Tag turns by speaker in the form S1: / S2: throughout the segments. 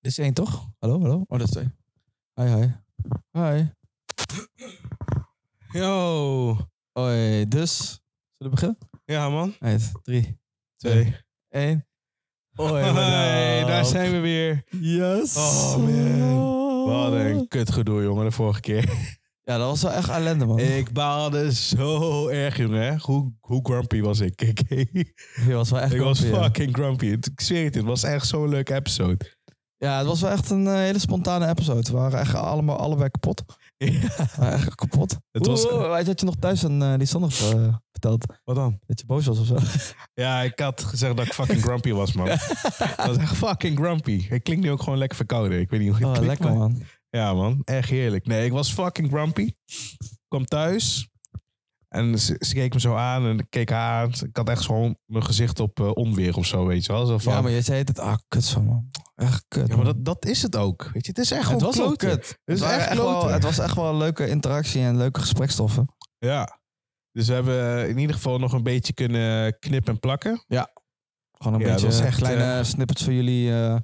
S1: Dit is één, toch? Hallo, hallo. Oh, dat is twee. Hi, hi. Hi. Yo. Hoi, dus. Zullen we beginnen?
S2: Ja, man.
S1: Uit. Drie,
S2: Twee.
S1: één. Hoi, wat
S2: Hey,
S1: up?
S2: daar zijn we weer.
S1: Yes.
S2: Oh, man. Wat een kut gedoe, jongen, de vorige keer.
S1: Ja, dat was wel echt ellende, man.
S2: Ik baalde zo erg, jongen. hè. Hoe, hoe grumpy was ik? Ik, ik
S1: Je was wel echt
S2: was
S1: grumpy, ja.
S2: fucking grumpy. Het- Ik zweer het, het was echt zo'n leuke episode.
S1: Ja, het was wel echt een eh, hele spontane episode. We waren echt allemaal, allebei kapot. We waren echt kapot.
S2: Het was-
S1: Oeh, weet je, had je nog thuis aan eh, die Sander eh, verteld
S2: Wat dan?
S1: dat je boos was of zo?
S2: Ja, ik had gezegd dat ik fucking grumpy was, man. Ik was echt fucking grumpy. Ik klink nu ook gewoon lekker verkouden. Ik weet niet hoe het
S1: Oh,
S2: klinkt,
S1: lekker,
S2: maar-
S1: man.
S2: Ja, man. Echt heerlijk. Nee, ik was fucking grumpy. Ik kwam thuis. En ze, ze keek me zo aan en ik keek haar aan. Ik had echt gewoon mijn gezicht op eh, onweer of zo, weet je wel. Zo van,
S1: Ja, maar je zei het, ah, kut zo, man. Echt kut. man.
S2: dat, dat is het ook. Weet je, het is echt
S1: het
S2: gewoon
S1: was ook
S2: kloten.
S1: kut.
S2: Het is
S1: waren
S2: echt
S1: wel,
S2: kloten.
S1: het was echt wel een leuke interactie en leuke gesprekstoffen.
S2: Ja. Dus we hebben eh, in ieder geval nog een beetje kunnen knippen en plakken.
S1: Gewoon een
S2: Ja, dat
S1: beetje
S2: was echt,
S1: kleine snippets voor jullie. eh,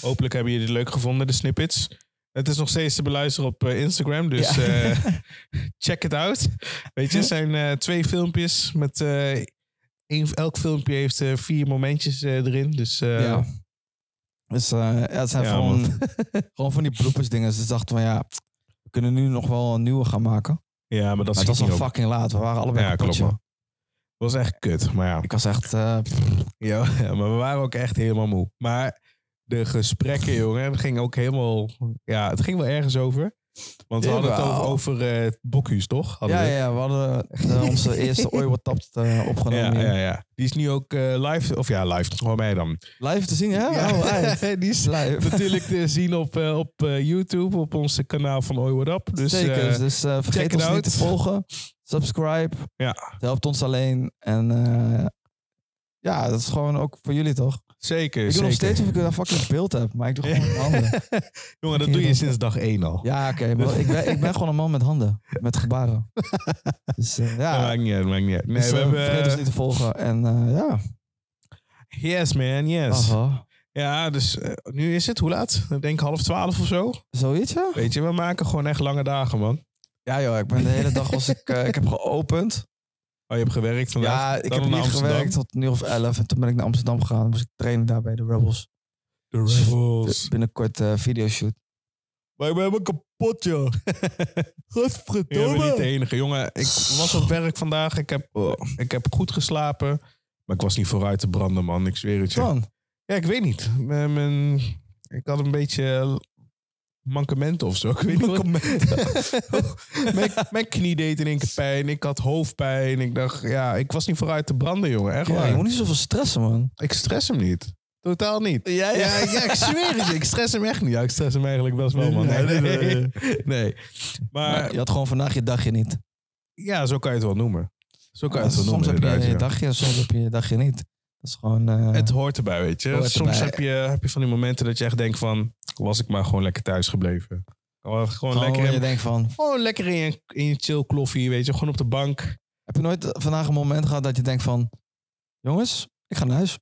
S2: Hopelijk hebben jullie het leuk gevonden, de snippets. Het is nog steeds te beluisteren op eh, Instagram, dus
S1: Ja.
S2: eh, check it out. Weet je, het zijn eh, twee filmpjes met... eh, één- elk filmpje heeft eh, vier momentjes eh, erin, dus... eh,
S1: ja. Dus eh, ja, het zijn
S2: Ja,
S1: gewoon, gewoon van die bloepers dingen. Dus dachten we, ja, we kunnen nu nog wel een nieuwe gaan maken.
S2: Ja, maar dat
S1: Maar het
S2: is
S1: was
S2: niet
S1: al
S2: op.
S1: fucking laat. We waren allebei
S2: Ja,
S1: kapot,
S2: klopt,
S1: joh.
S2: man. Dat was echt kut, maar ja.
S1: Ik was echt... eh,
S2: ja. Maar we waren ook echt helemaal moe. Maar de gesprekken, jongen, het ging ook helemaal... Ja, het ging wel ergens over. Want we hadden het
S1: Jawel.
S2: over, over eh, bokhuis, toch? Hadden
S1: ja,
S2: we
S1: ja,
S2: het?
S1: ja, we hadden eh, onze eerste Oi What Tapt eh, opgenomen.
S2: Ja,
S1: hier.
S2: ja, ja. Die is nu ook eh, live, of ja, live, hoor mij dan.
S1: Live te zien, hè? Oh, uit.
S2: die is
S1: Live.
S2: natuurlijk te zien op, eh, op eh, YouTube, op onze kanaal van Oi What Up. Dus,
S1: Zeker,
S2: eh,
S1: dus eh,
S2: check
S1: vergeet
S2: it
S1: ons niet
S2: out.
S1: te volgen. Subscribe.
S2: Ja.
S1: Het helpt ons alleen. En eh, ja, dat is gewoon ook voor jullie, toch?
S2: zeker,
S1: Ik doe
S2: zeker.
S1: nog steeds of ik een fucking beeld heb, maar ik doe gewoon met mijn handen.
S2: Jongen, dat doe je sinds dag één al.
S1: Ja, oké,
S2: Dus-
S1: maar ik ben, ik ben gewoon een man met handen. Met gebaren. Dus eh,
S2: Dat
S1: ja,
S2: maakt niet uit, dat maakt niet uit. Nee,
S1: dus,
S2: we
S1: eh, vergeet ons
S2: hebben... eh,
S1: niet te volgen. En eh, ja,
S2: Yes, man, yes.
S1: aha.
S2: Ja, dus eh, nu is het, hoe laat? Ik denk half twaalf of zo.
S1: zoiets ja?
S2: Weet je, we maken gewoon echt lange dagen, man.
S1: Ja joh, ik ben de hele dag als ik, eh, ik heb geopend.
S2: Oh, je hebt gewerkt vandaag?
S1: Ja, ik
S2: Dan
S1: heb
S2: naar
S1: niet
S2: Amsterdam.
S1: gewerkt tot nu of 11 en toen ben ik naar Amsterdam gegaan. Moest ik trainen daar bij de Rebels.
S2: De
S1: Dus
S2: Rebels.
S1: binnenkort eh videoshoot.
S2: Wij zijn helemaal kapot, joh. Je bent niet de enige, jongen. Ik was op werk vandaag. Ik heb, oh,
S1: Oh,
S2: ik heb goed geslapen. Maar ik was niet vooruit te branden, man. Ik zweer het je.
S1: Dan.
S2: Ja, ik weet niet. Mijn, mijn- ik had een beetje mankementen of zo. Ik weet niet wat- mijn, mijn knie deed in één keer pijn. Ik had hoofdpijn. Ik dacht, ja, ik was niet vooruit te branden, jongen. Echt
S1: Ja,
S2: waar.
S1: je moet niet zoveel stressen, man.
S2: Ik stress hem niet. Totaal niet.
S1: Ja,
S2: Ja, ja, ik zweer het je. Ik stress hem echt niet. Ja, ik stress hem eigenlijk best wel, man.
S1: Nee, nee, nee.
S2: Nee. Maar
S1: je had gewoon vandaag je dagje niet.
S2: ja, zo kan je het wel noemen. Zo kan je het wel
S1: soms
S2: noemen,
S1: heb je je
S2: inderdaad, ja.
S1: dagje en soms heb je je dagje niet. Dat is gewoon... eh,
S2: Het hoort erbij, weet je.
S1: Hoort
S2: Soms
S1: erbij.
S2: heb je, heb je van die momenten dat je echt denkt van... Was ik maar gewoon lekker thuis gebleven. Gewoon, gewoon
S1: gewoon
S2: lekker,
S1: waar
S2: in,
S1: je denkt van...
S2: gewoon lekker in, je, in je chill kloffie, weet je. Gewoon op de bank.
S1: Heb je nooit vandaag een moment gehad dat je denkt van... Jongens, ik ga naar huis.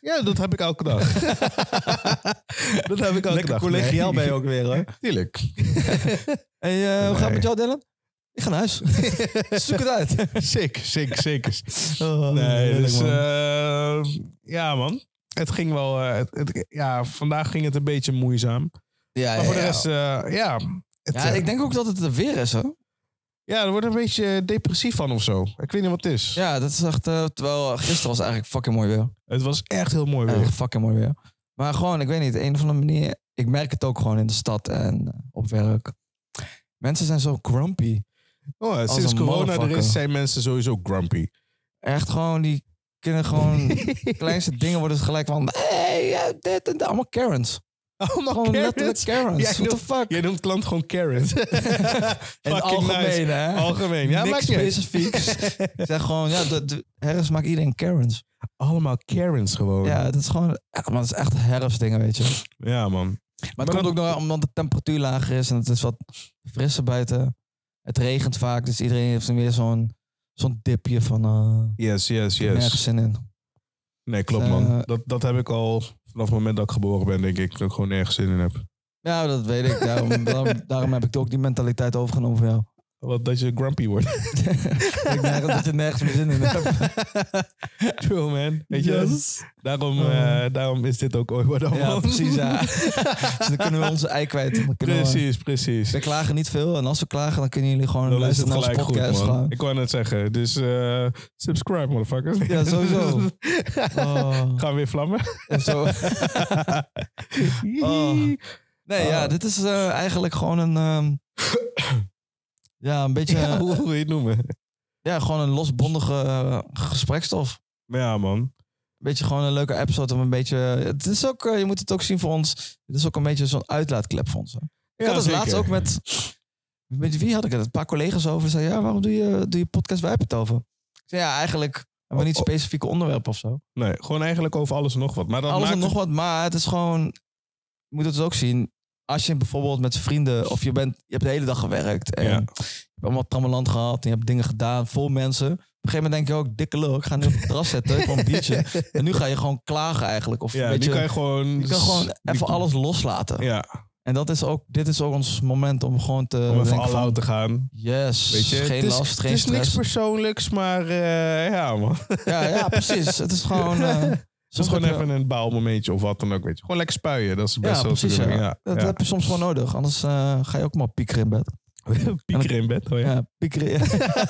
S2: Ja, dat heb ik elke dag. dat heb ik elke dag. Nee.
S1: ook weer, hoor.
S2: Tuurlijk.
S1: hey, eh, hoe gaat het
S2: Nee.
S1: met jou, Dylan? Ik ga naar huis. Zoek het uit.
S2: Zeker, zeker, zeker. Nee, dus eh, ja, man. Het ging wel. eh, het, het- ja, vandaag ging het een beetje moeizaam.
S1: ja,
S2: Maar voor de
S1: ja.
S2: rest, eh, ja. Het,
S1: Ja,
S2: eh,
S1: ik denk ook dat het er weer is, hè?
S2: ja, er wordt een beetje depressief van of zo. Ik weet niet wat het is.
S1: Ja, dat is echt... eh, terwijl gisteren was eigenlijk fucking mooi weer.
S2: Het was Oh, echt heel mooi weer.
S1: Echt fucking mooi weer. Maar gewoon, ik weet niet, een of andere manier... Ik merk het ook gewoon in de stad en eh, op werk. Mensen zijn zo grumpy.
S2: Oh, eh,
S1: als
S2: sinds
S1: een
S2: corona er
S1: motherfucker.
S2: is, zijn mensen sowieso grumpy.
S1: Echt gewoon, die kunnen gewoon... de kleinste dingen worden ze gelijk van... Hey, ja, dit en dat. Allemaal Karens.
S2: Allemaal
S1: Gewoon letterlijk
S2: Karens.
S1: Karens.
S2: Ja, ik
S1: What the
S2: bedoel-
S1: fuck?
S2: Jij noemt klant gewoon Karens.
S1: In het
S2: Fucking
S1: algemeen,
S2: nice.
S1: hè?
S2: Algemeen. Ja,
S1: Niks
S2: maakt niet uit.
S1: specifieks. ik zeg gewoon, ja, de, de- herfst maakt iedereen Karens.
S2: Allemaal Karens gewoon.
S1: Ja, dat is gewoon... Echt, man, dat is echt herfstdingen, weet je.
S2: ja man.
S1: Maar het
S2: Maar
S1: komt ook nog omdat de temperatuur lager is en het is wat frisser buiten. Het regent vaak, dus iedereen heeft dan weer zo'n zo'n dipje van eh
S2: Yes, yes,
S1: nergens
S2: yes.
S1: zin in.
S2: Nee, klopt
S1: Eh,
S2: man. Dat, dat heb ik al Vanaf het moment dat ik geboren ben, denk ik dat ik gewoon nergens zin in heb.
S1: Nou, dat weet ik. Daarom, daarom, daarom heb ik ook die mentaliteit overgenomen van jou.
S2: Wat dat je grumpy wordt.
S1: Dat ik nergens, dat je nergens meer zin in hebt.
S2: True, man. Weet je? Daarom,
S1: Oh.
S2: eh, daarom is dit ook ooit wat allemaal.
S1: Ja, precies. Ja. Dus dan kunnen we onze ei kwijt. Dan kunnen we-
S2: precies, precies.
S1: We klagen niet veel. En als we klagen, dan kunnen jullie gewoon
S2: Dan is
S1: luisteren
S2: het
S1: naar onze
S2: gelijk
S1: podcast.
S2: goed, man.
S1: gewoon.
S2: Ik wou net zeggen. Dus eh, subscribe, motherfuckers.
S1: Ja, sowieso. Oh,
S2: Gaan we weer vlammen?
S1: en zo. Oh. Nee, ja, dit is eh, eigenlijk gewoon een... ehm, ja, een beetje...
S2: Ja,
S1: Ja,
S2: hoe wil je het noemen?
S1: gewoon een losbondige eh, gesprekstof.
S2: Maar ja, man.
S1: Een beetje gewoon een leuke episode om een beetje... Het is ook, eh, je moet het ook zien voor ons. Het is ook een beetje zo'n uitlaatklep voor ons. hè. Ik
S2: Ja,
S1: had het
S2: zeker.
S1: laatst ook met... Met wie had ik het? Een paar collega's over. Ze zeiden, ja, waarom doe je, doe je podcast? Wij hebben het over. Ik zei, ja, eigenlijk hebben we niet
S2: Oh, oh.
S1: specifieke onderwerpen of zo.
S2: Nee, gewoon eigenlijk over alles en nog wat. Maar dan
S1: alles en
S2: maakt
S1: nog wat, maar het is gewoon... Je moet het dus ook zien. Als je bijvoorbeeld met vrienden... of je, bent, je hebt de hele dag gewerkt... en
S2: Ja.
S1: je hebt allemaal trammeland gehad... en je hebt dingen gedaan, vol mensen. Op een gegeven moment denk je ook... dikke lul, ik ga nu op het terras zetten, ik wil een biertje. En nu ga je gewoon klagen eigenlijk. Of
S2: Ja,
S1: weet
S2: die
S1: je,
S2: kan je gewoon...
S1: je kan gewoon
S2: die-
S1: even alles loslaten.
S2: Ja,
S1: En dat is ook, dit is ook ons moment om gewoon te
S2: om even
S1: denken
S2: all
S1: Eh, van,
S2: out te gaan.
S1: Yes,
S2: Weet je,
S1: geen
S2: het is,
S1: last, geen
S2: het is niks
S1: stress.
S2: persoonlijks, maar eh, ja man. Het
S1: Ja, ja, precies. Het is gewoon... eh,
S2: is
S1: soms
S2: gewoon
S1: heb je-
S2: even een baalmomentje of wat dan ook, weet je. Gewoon lekker spuien, dat is best
S1: Ja,
S2: wel
S1: precies,
S2: te doen.
S1: ja.
S2: Ja,
S1: Dat
S2: ja.
S1: heb je soms gewoon nodig. Anders eh, ga je ook maar piekeren in bed.
S2: Piekeren in bed, hoor je.
S1: Ja, piekeren.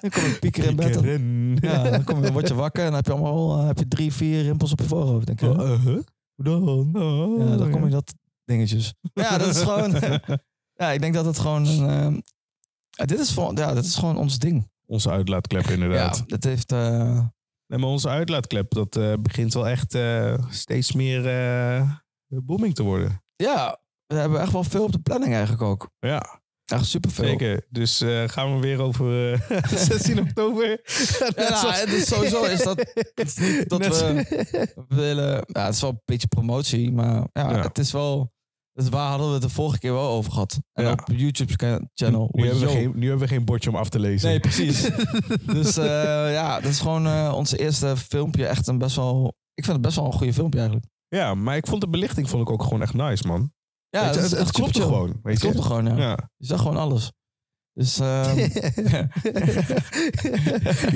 S1: dan kom je piekeren in bed. Dan,
S2: Piekeren.
S1: ja, dan kom je, word je wakker en dan heb je allemaal eh, heb je drie, vier rimpels op je voorhoofd. Denk je.
S2: Oh, eh, huh?
S1: Uh-huh. dan?
S2: Oh,
S1: Ja, dan kom
S2: ja.
S1: je dat dingetjes. Ja, dat is gewoon...
S2: eh,
S1: ja, ik denk dat het gewoon... een, ehm, ja, dit is, voor, ja, dit is gewoon ons ding.
S2: Onze uitlaatklep,
S1: Ja,
S2: inderdaad.
S1: dat heeft... eh,
S2: Nee, maar onze uitlaatklep, dat eh, begint wel echt eh, steeds meer eh, booming te worden.
S1: ja, we hebben echt wel veel op de planning eigenlijk ook.
S2: Ja,
S1: Echt superveel.
S2: zeker. Dus eh, gaan we weer over eh, 16 oktober.
S1: Ja, nou, het is sowieso is dat, het is niet dat
S2: Net-
S1: we willen... Ja, het is wel een beetje promotie, maar ja,
S2: Ja.
S1: het is wel... Dus waar hadden we het de vorige keer wel over gehad? En
S2: Ja.
S1: op YouTube-channel.
S2: Nu hebben, we geen, nu hebben we geen bordje om af te lezen.
S1: nou, Nee, precies. dus eh, ja, dat is gewoon eh ons eerste filmpje. Echt een best wel... Ik vind het best wel een goede filmpje eigenlijk.
S2: Ja, maar ik vond de belichting vond ik ook gewoon echt nice, man.
S1: Ja,
S2: Weet je,
S1: dat is
S2: het,
S1: echt
S2: het klopte
S1: superchill.
S2: gewoon. Weet
S1: Het klopte
S2: je?
S1: gewoon, ja.
S2: Ja.
S1: Je zag gewoon alles. Dus eh,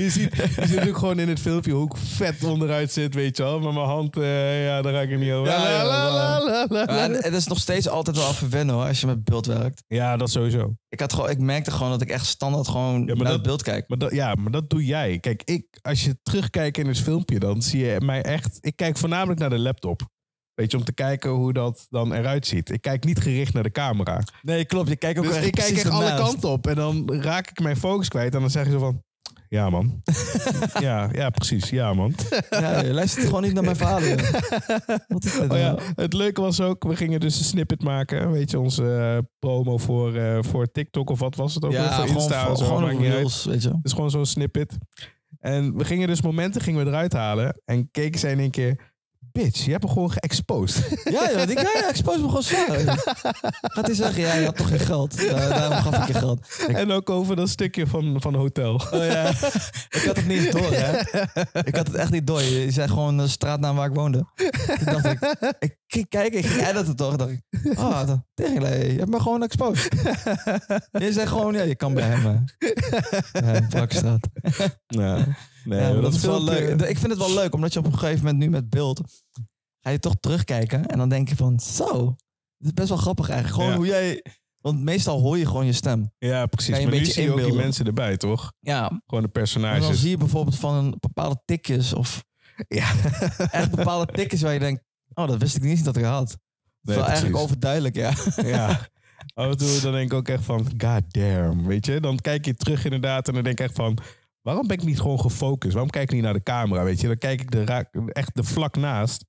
S2: je, ziet, je ziet ook gewoon in het filmpje hoe ik vet onderuit zit, weet je wel. Maar mijn hand, eh, ja, daar raak ik niet over.
S1: Ja, ja,
S2: la, la, la,
S1: ja, en
S2: la.
S1: het is nog steeds altijd wel even wennen hoor, als je met beeld werkt.
S2: ja, dat sowieso.
S1: Ik, had gewoon, ik merkte gewoon dat ik echt standaard gewoon
S2: maar
S1: naar
S2: dat-
S1: het beeld kijk.
S2: Maar dat, ja, maar dat doe jij. Kijk, ik, als je terugkijkt in het filmpje, dan zie je mij echt... Ik kijk voornamelijk naar de laptop. Weet je, om te kijken hoe dat dan eruit ziet. Ik kijk niet gericht naar de camera.
S1: Nee, klopt. Je kijkt
S2: Dus ik kijk echt alle kanten op en dan raak ik mijn focus kwijt. En dan zeg je zo van, ja man. ja, ja, precies, ja man.
S1: Ja, je luistert gewoon niet naar mijn verhalen. joh. Wat is dit
S2: Oh ja,
S1: nou?
S2: het leuke was ook, we gingen dus een snippet maken. Weet je, onze eh, promo voor, eh, voor TikTok of wat was het ook? weer?
S1: Ja,
S2: voor
S1: gewoon,
S2: Insta en
S1: voor-
S2: zo,
S1: gewoon
S2: maakt
S1: op
S2: niet uit.
S1: reels, weet je.
S2: Het is gewoon zo'n snippet. En we gingen dus momenten gingen we eruit halen. En keken zij in één keer, bitch, je hebt hem gewoon geëxposed.
S1: Ja, joh, die guy expose me gewoon zwaar. Gaat hij zeggen, ja, je had toch geen geld. Daar- daarom gaf ik je geld. Ik,
S2: en ook over dat stukje van, van hotel.
S1: oh ja, ik had het niet door, hè. Ik had het echt niet door. Je je zei gewoon de straatnaam waar ik woonde. Toen dacht ik, ik ging kijken, ik ging editen toch. dacht ik, ah, oh, je hebt me gewoon exposed. Je zei gewoon, ja, je kan bij hem, hè. Ja, Brakstraat.
S2: Ja. Nee,
S1: Ja, maar dat is wel
S2: filmpje-
S1: leuk. Ik vind het wel leuk, omdat je op een gegeven moment nu met beeld... ga je toch terugkijken en dan denk je van... zo, dit is best wel grappig eigenlijk. Gewoon
S2: Ja.
S1: hoe jij... Want meestal hoor je gewoon je stem.
S2: Ja, precies.
S1: Kan je
S2: Maar
S1: een
S2: nu
S1: beetje
S2: zie eh, je ook die
S1: inbeelden.
S2: mensen erbij, toch?
S1: Ja,
S2: Gewoon de
S1: en dan
S2: personages.
S1: zie je bijvoorbeeld van een bepaalde tikjes... of
S2: Ja.
S1: echt bepaalde tikjes waar je denkt... oh, dat wist ik niet eens dat ik had. Dat is
S2: Nee,
S1: wel eigenlijk
S2: precies.
S1: overduidelijk, ja.
S2: Ja. Af en toe dan denk ik ook echt van, god damn, weet je. Dan kijk je terug inderdaad en dan denk ik echt van, waarom ben ik niet gewoon gefocust? Waarom kijk ik niet naar de camera, weet je? Dan kijk ik de raak, echt de vlak naast.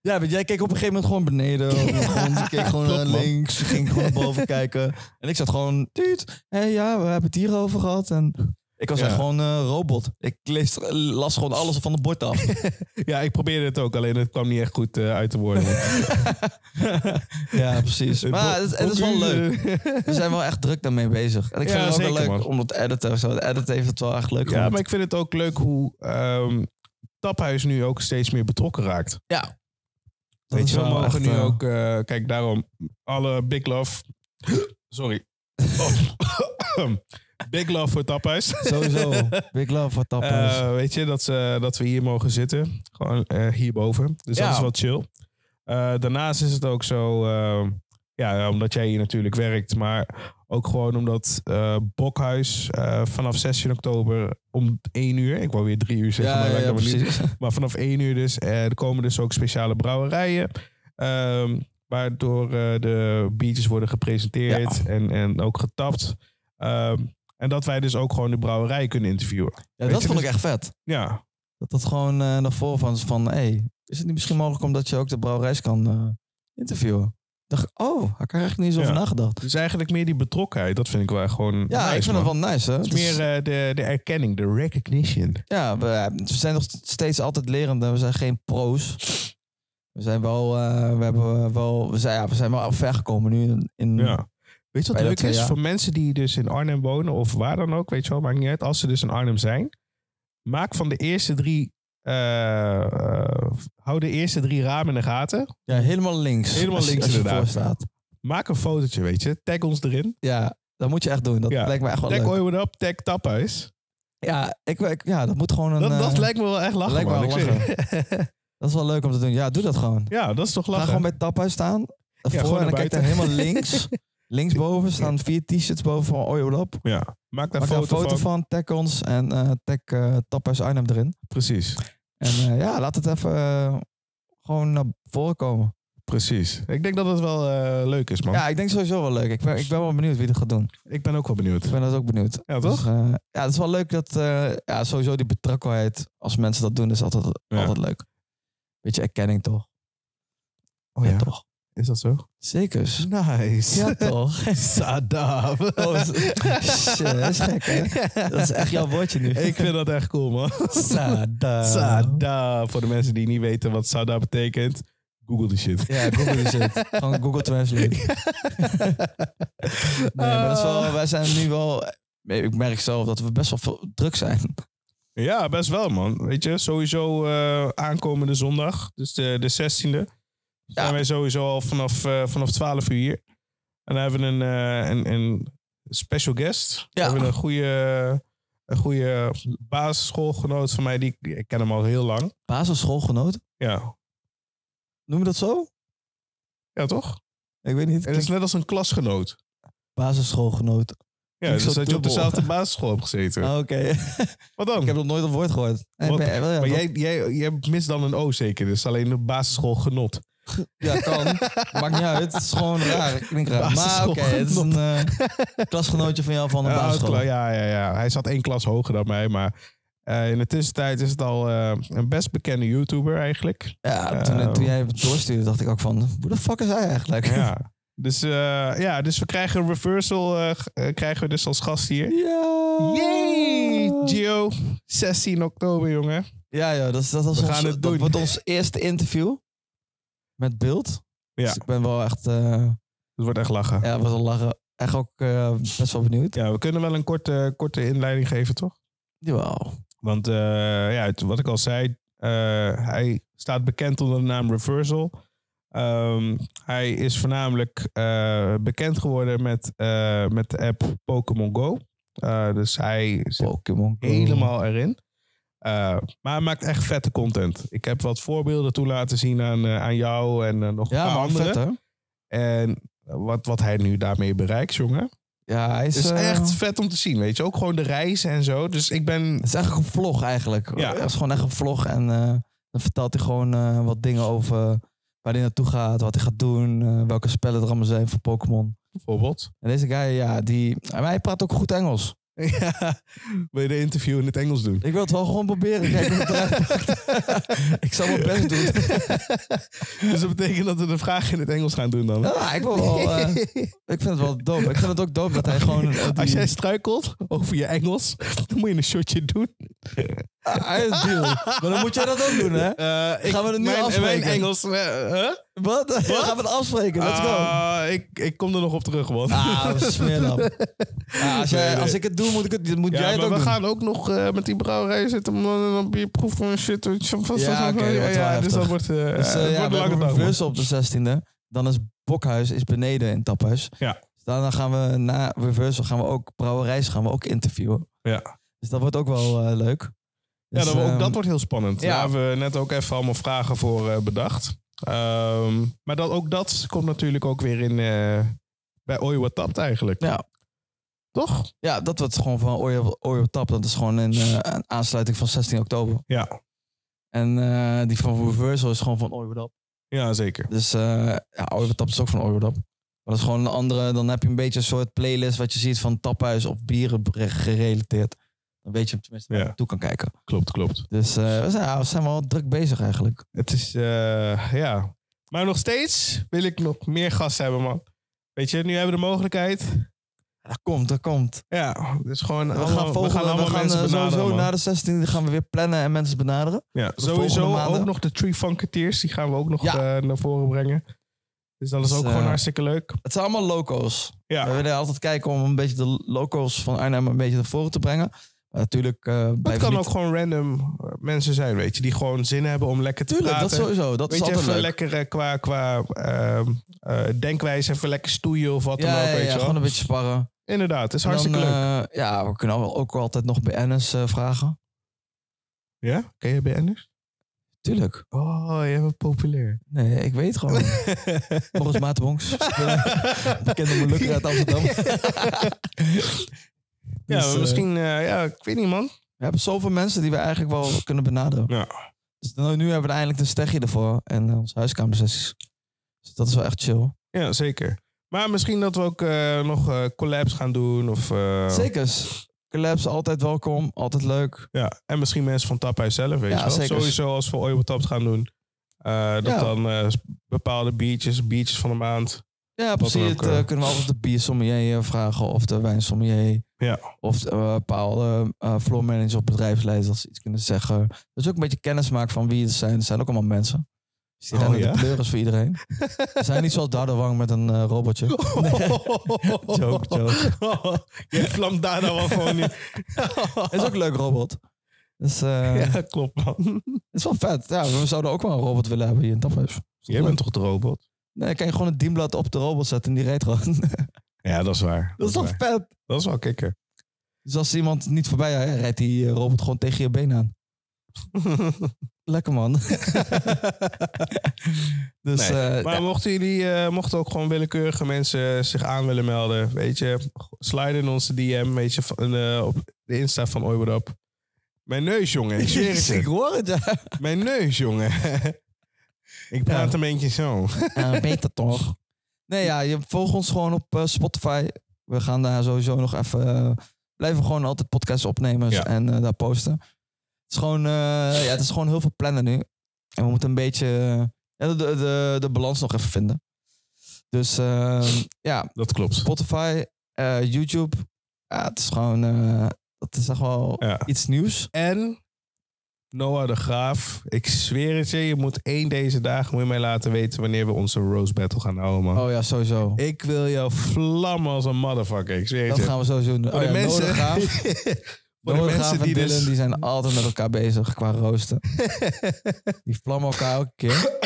S1: Ja, want jij keek op een gegeven moment gewoon beneden. Op de grond. Je keek gewoon
S2: Klopt,
S1: naar
S2: man.
S1: links. Je ging gewoon naar boven kijken. En ik zat gewoon... Tuut. Hé, ja, we hebben het hier over gehad. En ik was
S2: Ja.
S1: echt gewoon eh, robot. Ik lees, las gewoon alles van het bord af.
S2: Ja, ik probeerde het ook, alleen het kwam niet echt goed eh, uit de woorden.
S1: ja, precies. Maar het, het is wel leuk.
S2: eh,
S1: We zijn wel echt druk daarmee bezig. En ik
S2: Ja,
S1: vind het ook wel
S2: zeker,
S1: leuk
S2: man.
S1: om dat te editen. of Zo. Het editen heeft het wel echt leuk
S2: Ja,
S1: gemaakt.
S2: maar ik vind het ook leuk hoe ehm, Taphuis nu ook steeds meer betrokken raakt.
S1: Ja. Dat
S2: Weet
S1: is
S2: je, we
S1: wel
S2: mogen
S1: echt,
S2: nu
S1: eh,
S2: ook... eh, kijk, daarom. Alle Big Love... Sorry. Oh. big Love voor Taphuis.
S1: Sowieso. Big love voor tappers.
S2: Eh, weet je, dat, ze, dat we hier mogen zitten. Gewoon eh, hierboven. Dus
S1: Ja.
S2: dat is wel chill. Eh, daarnaast is het ook zo... eh, ja, omdat jij hier natuurlijk werkt. Maar ook gewoon omdat eh, Bokhuis eh, vanaf 16 oktober om 1 uur... Ik wou weer 3 uur zeggen, maar laat ik dat maar niet maar vanaf 1 uur dus. eh, er komen dus ook speciale brouwerijen. ehm, waardoor eh, de biertjes worden gepresenteerd en, en ook getapt. Ehm, en dat wij dus ook gewoon de brouwerij kunnen interviewen.
S1: Ja,
S2: Weet
S1: dat
S2: je,
S1: vond ik
S2: dus-
S1: echt vet.
S2: Ja,
S1: Dat dat gewoon eh naar voren van is van... hey, is het niet misschien mogelijk omdat je ook de brouwerijs kan eh, interviewen? Ik dacht, oh, had ik er echt niet eens over
S2: Ja.
S1: nagedacht.
S2: dus eigenlijk meer die betrokkenheid. Dat vind ik wel gewoon
S1: Ja,
S2: nice,
S1: ik vind
S2: man.
S1: het wel nice, hè?
S2: Het is
S1: Het is-
S2: meer eh, de, de erkenning, de recognition.
S1: Ja, we, eh, we zijn nog steeds altijd lerend en we zijn geen pro's. We zijn wel, eh, we hebben wel, we zijn, ja, we zijn wel ver gekomen nu. In, in-
S2: Ja. Weet je wat
S1: Bij dat
S2: leuk
S1: twee
S2: is?
S1: jaar.
S2: Voor mensen die dus in Arnhem wonen of waar dan ook, weet je wel, maakt niet uit. Als ze dus in Arnhem zijn, maak van de eerste drie, eh, eh, hou de eerste drie ramen in de gaten.
S1: ja, helemaal links.
S2: Helemaal
S1: als je-
S2: links
S1: als je
S2: inderdaad.
S1: voor staat.
S2: Maak een fotootje, weet je. Tag ons erin.
S1: Ja, dat moet je echt doen. Dat
S2: Ja.
S1: lijkt me echt wel
S2: Tag
S1: leuk.
S2: Oi What Up, tag Taphuis.
S1: Ja, ik, ik- ja, dat moet gewoon een...
S2: Dat, dat
S1: eh,
S2: lijkt me wel echt lachen,
S1: lijkt me
S2: man.
S1: wel
S2: Ik zweer.
S1: dat is wel leuk om te doen. Ja, doe dat gewoon.
S2: ja, dat is toch
S1: Ga
S2: lachen.
S1: gewoon bij Taphuis staan. Ervoor,
S2: gewoon
S1: en dan
S2: naar
S1: kijk je
S2: buiten.
S1: helemaal links. Linksboven staan vier t-shirts boven van Oyo Lab.
S2: Ja, maak daar
S1: Maak daar
S2: foto,
S1: een foto
S2: van.
S1: van, tag ons en eh tag eh Taphuis Arnhem erin.
S2: Precies,
S1: En eh, ja, laat het even eh, gewoon naar voren komen.
S2: precies. Ik denk dat het wel eh, leuk is, man.
S1: Ja, ik denk sowieso wel leuk. Ik ben, ik ben wel benieuwd wie dat gaat doen.
S2: Ik ben ook wel benieuwd.
S1: Ik ben dat ook benieuwd.
S2: Ja,
S1: Dus,
S2: toch?
S1: eh, ja, het is wel leuk dat eh, ja, sowieso die betrokkenheid als mensen dat doen, is altijd,
S2: Ja.
S1: altijd leuk. Beetje erkenning toch?
S2: Oh ja,
S1: toch?
S2: is dat zo?
S1: Zeker.
S2: Nice.
S1: Ja, toch?
S2: Sadaf.
S1: Oh, shit, dat is gek, hè? Dat is echt jouw woordje nu.
S2: Ik vind dat echt cool, man.
S1: Sada.
S2: Sada. Voor de mensen die niet weten wat Sada betekent, google die shit.
S1: Ja, Google is het. Gewoon Google Translate. Nee, maar dat is wel, wij zijn nu wel... Ik merk zelf dat we best wel veel druk zijn.
S2: Ja, best wel, man. Weet je, sowieso eh, aankomende zondag, dus de, de 16e, zijn
S1: Ja.
S2: wij sowieso al vanaf, eh, vanaf 12 uur hier. En dan hebben we een, eh, een, een special guest. We
S1: Ja.
S2: hebben een goede, een goede basisschoolgenoot van mij, die, ik ken hem al heel lang.
S1: Basisschoolgenoot?
S2: Ja,
S1: Noem je dat zo?
S2: ja toch?
S1: Ik weet niet.
S2: Het is net als een klasgenoot.
S1: Basisschoolgenoot.
S2: Ja,
S1: Klinkt
S2: dus
S1: zo
S2: dat je op
S1: dubbel.
S2: dezelfde basisschool hebt gezeten.
S1: Ah, Oké.
S2: Wat dan?
S1: ik heb nog nooit dat woord gehoord. Nee,
S2: Wat?
S1: ben- wel, ja,
S2: maar
S1: dat-
S2: jij, jij, jij mist dan een O zeker, dus alleen de basisschool genot.
S1: Ja, kan. Maakt niet uit. Het is gewoon raar. Klinkt raar. Maar oké,
S2: Basisschoolgenoot.
S1: het is een eh, klasgenootje van jou van de
S2: Ja,
S1: basisschool.
S2: kla- ja, ja, ja. Hij zat één klas hoger dan mij, maar eh, in de tussentijd is het al eh, een best bekende YouTuber eigenlijk.
S1: Ja, toen, toen jij het doorstuurde, dacht ik ook van... Hoe de fuck is hij eigenlijk?
S2: Ja. Dus, eh, ja, dus we krijgen een reversal, eh, g- eh, krijgen we dus als gast hier.
S1: Ja.
S2: Yay! Gio, 16 oktober, jongen.
S1: Ja, ja, dat, is- dat, was
S2: We
S1: ons,
S2: gaan het
S1: dat
S2: doen.
S1: wordt ons eerste interview met beeld.
S2: Ja.
S1: Dus ik ben wel echt, eh
S2: Het wordt echt lachen.
S1: ja, was al lachen. Echt ook eh, best wel benieuwd.
S2: Ja, we kunnen wel een korte, korte inleiding geven, toch?
S1: Jawel.
S2: Want eh, ja, het- wat ik al zei, eh, hij staat bekend onder de naam Reversal. Ehm, hij is voornamelijk eh, bekend geworden met, eh, met de app Pokémon Go. Eh, dus hij zit
S1: Pokémon. Go.
S2: helemaal erin. Eh, maar hij maakt echt vette content. Ik heb wat voorbeelden toe laten zien aan, eh, aan jou en eh, nog een
S1: Ja,
S2: paar
S1: maar
S2: anderen.
S1: vet, hè?
S2: En wat, wat hij nu daarmee bereikt, jongen.
S1: Ja, hij is,
S2: Het is
S1: eh,
S2: echt vet om te zien, weet je. Ook gewoon de reizen en zo. Dus ik ben...
S1: Het is eigenlijk een vlog eigenlijk.
S2: Ja.
S1: Het is gewoon echt een vlog. En eh, dan vertelt hij gewoon eh, wat dingen over waar hij naartoe gaat, wat hij gaat doen, eh, welke spellen er allemaal zijn voor Pokémon.
S2: Bijvoorbeeld...
S1: En deze guy, ja, die... Maar hij praat ook goed Engels.
S2: Ja, wil je de interview in het Engels doen?
S1: Ik wil het wel gewoon proberen. Kijken hoe het eruit pakt. Ik zal mijn best doen.
S2: Dus dat betekent dat we de vraag in het Engels gaan doen dan.
S1: Ja, ik, wil wel, eh, ik vind het wel dope. Ik vind het ook dope dat hij gewoon... eh, die-
S2: Als jij struikelt over je Engels, dan moet je een shotje doen.
S1: Hij is deal. Maar dan moet jij dat ook doen, hè?
S2: Eh, ik,
S1: Gaan we het nu
S2: mijn,
S1: afspreken?
S2: Mijn Engels... eh, huh?
S1: Wat? Gaan we het afspreken? Let's go.
S2: Ah, ik, ik kom er nog op terug, man.
S1: Ah, smeerlap. Ah, als, jij-
S2: Nee, nee.
S1: als ik het doe, moet, ik het, moet
S2: Ja,
S1: jij het
S2: maar
S1: ook
S2: we
S1: doen.
S2: gaan ook nog eh, met die brouwerij zitten om dan een bierproef en shit. weet je, vast-
S1: Ja,
S2: vast-
S1: oké, dat wordt wel
S2: dus dat
S1: heftig.
S2: wordt, eh
S1: Dus eh,
S2: het wordt
S1: ja,
S2: een
S1: we
S2: lange
S1: hebben
S2: dag. man.
S1: reverse op de 16e. Dan is Bokhuis is beneden in Taphuis.
S2: Ja.
S1: Dus daarna gaan we na reversal gaan we ook brouwerijs gaan we ook interviewen.
S2: Ja.
S1: Dus dat wordt ook wel eh, leuk.
S2: Ja,
S1: Dus,
S2: dat, ook
S1: ehm,
S2: dat wordt heel spannend.
S1: ja.
S2: Daar hebben we net ook even allemaal vragen voor eh, bedacht. Ehm, maar dat, ook dat komt natuurlijk ook weer in eh, bij Oi Wat Tapt eigenlijk.
S1: Ja.
S2: Toch?
S1: Ja, dat wordt gewoon van Ooi op, Ooi op Tap. Dat is gewoon een, eh, een aansluiting van 16 oktober.
S2: Ja.
S1: En eh, die van Reversal is gewoon van Ooi op Tap.
S2: Ja, zeker.
S1: Dus eh ja, Ooi op Tap is ook van Ooi op Tap. Maar dat is gewoon een andere... Dan heb je een beetje een soort playlist wat je ziet van taphuis of bieren gerelateerd. Dan weet je tenminste waar je
S2: Ja.
S1: naartoe kan kijken.
S2: Klopt, klopt.
S1: Dus eh, we, zijn, ja, we zijn wel druk bezig eigenlijk.
S2: Het is, eh, ja. Maar nog steeds wil ik nog meer gasten hebben, man. Weet je, nu hebben we de mogelijkheid.
S1: Dat komt, dat komt.
S2: Ja, dus gewoon.
S1: We
S2: allemaal-
S1: gaan vogelen, we gaan,
S2: allemaal mensen
S1: eh,
S2: benaderen,
S1: sowieso
S2: man.
S1: na de 16e gaan we weer plannen en mensen benaderen.
S2: Ja,
S1: de volgende
S2: sowieso
S1: maanden.
S2: ook nog de Tree Funketeers. Die gaan we ook nog
S1: Ja.
S2: eh, naar voren brengen. Dus dat is
S1: Dus,
S2: ook
S1: eh,
S2: gewoon hartstikke leuk.
S1: Het zijn allemaal locals. We
S2: Ja,
S1: willen altijd kijken om een beetje de locals van Arnhem een beetje naar voren te brengen. Maar natuurlijk eh
S2: het
S1: blijven
S2: kan
S1: niet-
S2: ook gewoon random eh, mensen zijn, weet je. Die gewoon zin hebben om lekker te
S1: Tuurlijk, dat
S2: praten.
S1: sowieso. Dat
S2: weet
S1: is
S2: je,
S1: altijd
S2: even
S1: leuk.
S2: lekker eh, qua, qua ehm, eh, denkwijze, even lekker stoeien of wat dan
S1: ja,
S2: ook,
S1: ja,
S2: weet
S1: ja,
S2: je wel.
S1: gewoon een beetje sparren.
S2: Inderdaad, het is
S1: En
S2: hartstikke
S1: dan,
S2: leuk.
S1: eh, ja, we kunnen al- ook altijd nog BN'ers eh vragen.
S2: Ja? Ken je BN'ers?
S1: Tuurlijk.
S2: Oh, jij bent populair.
S1: Nee, ik weet gewoon. Volgens Maat Bonks. Oh. Bekende Molukker uit Amsterdam.
S2: ja,
S1: Dus,
S2: maar
S1: eh,
S2: misschien... eh, ja, ik weet niet, man.
S1: We hebben zoveel mensen die we eigenlijk wel kunnen benaderen.
S2: Ja.
S1: Dus nu nu hebben we eindelijk een stegje ervoor. En eh, onze huiskamersessies. Dus dat is wel echt chill.
S2: Ja, zeker. Maar misschien dat we ook eh, nog eh, collabs gaan doen of... eh,
S1: Zekers. Collabs, altijd welkom. Altijd leuk.
S2: Ja, en misschien mensen van Taphuis zelf, weet
S1: Ja,
S2: je wel.
S1: zeker.
S2: Sowieso als we ooit Tapt gaan doen. eh, dat
S1: Ja.
S2: dan eh, bepaalde biertjes, biertjes van de maand.
S1: Ja,
S2: Wat
S1: precies.
S2: dan
S1: Het,
S2: ook, eh.
S1: eh, kunnen we altijd de biersommelier eh, vragen. Of de wijnsommelier.
S2: Ja.
S1: Of eh, bepaalde eh floor managers of bedrijfsleiders iets kunnen zeggen. Dus ook een beetje kennis maken van wie het zijn. Het zijn ook allemaal mensen. Dus die
S2: Oh,
S1: rennen
S2: ja?
S1: de kleur is voor iedereen. Ze zijn niet zoals Dardo Wang met een eh, robotje.
S2: Oh.
S1: Joke, joke.
S2: Je vlamt daar dan wel gewoon niet.
S1: Het is ook een leuk robot. Dus eh,
S2: Ja, klopt man.
S1: het is wel vet. Ja, we zouden ook wel een robot willen hebben hier in Taphuis.
S2: Jij bent toch de robot?
S1: Nee, dan kan je gewoon het dienblad op de robot zetten en die reed gewoon.
S2: Ja, dat is waar.
S1: Dat is toch
S2: waar.
S1: vet?
S2: Dat is wel kikker.
S1: Dus als iemand niet voorbij rijdt, rijdt die eh, robot gewoon tegen je been aan. Lekker man. dus
S2: Nee,
S1: eh,
S2: maar
S1: ja,
S2: mochten jullie, eh, mochten ook gewoon willekeurige mensen zich aan willen melden, weet je, slide in onze DM, weet je, van, eh, op de Insta van Oi What Up. Mijn neus, jongen. Ik zweer het je.
S1: ik hoor het. Ja.
S2: Mijn neus, jongen. ik praat
S1: Ja.
S2: een beetje zo.
S1: Ja, beter toch? Nee, ja, je volg ons gewoon op eh, Spotify. We gaan daar sowieso nog even... eh, blijven gewoon altijd podcasts opnemen
S2: Ja.
S1: en eh, daar posten. Het is, gewoon, eh, ja, het is gewoon heel veel plannen nu. En we moeten een beetje eh, ja, de, de, de balans nog even vinden. Dus eh, ja,
S2: Dat klopt.
S1: Spotify, eh, YouTube. Ja, het is gewoon... eh dat is echt wel
S2: Ja.
S1: iets nieuws.
S2: En Noah de Graaf, ik zweer het je, je moet één deze dagen moet je mij laten weten wanneer we onze Rose Battle gaan houden, man.
S1: Oh ja, sowieso.
S2: Ik wil jou vlammen als een motherfucker, ik zweer het
S1: Dat
S2: je.
S1: gaan we sowieso doen.
S2: Voor
S1: Oh ja,
S2: de mensen,
S1: Noah de Graaf.
S2: voor de mensen die
S1: Dylan,
S2: dus...
S1: die zijn altijd met elkaar bezig qua roosten. die vlammen elkaar elke keer.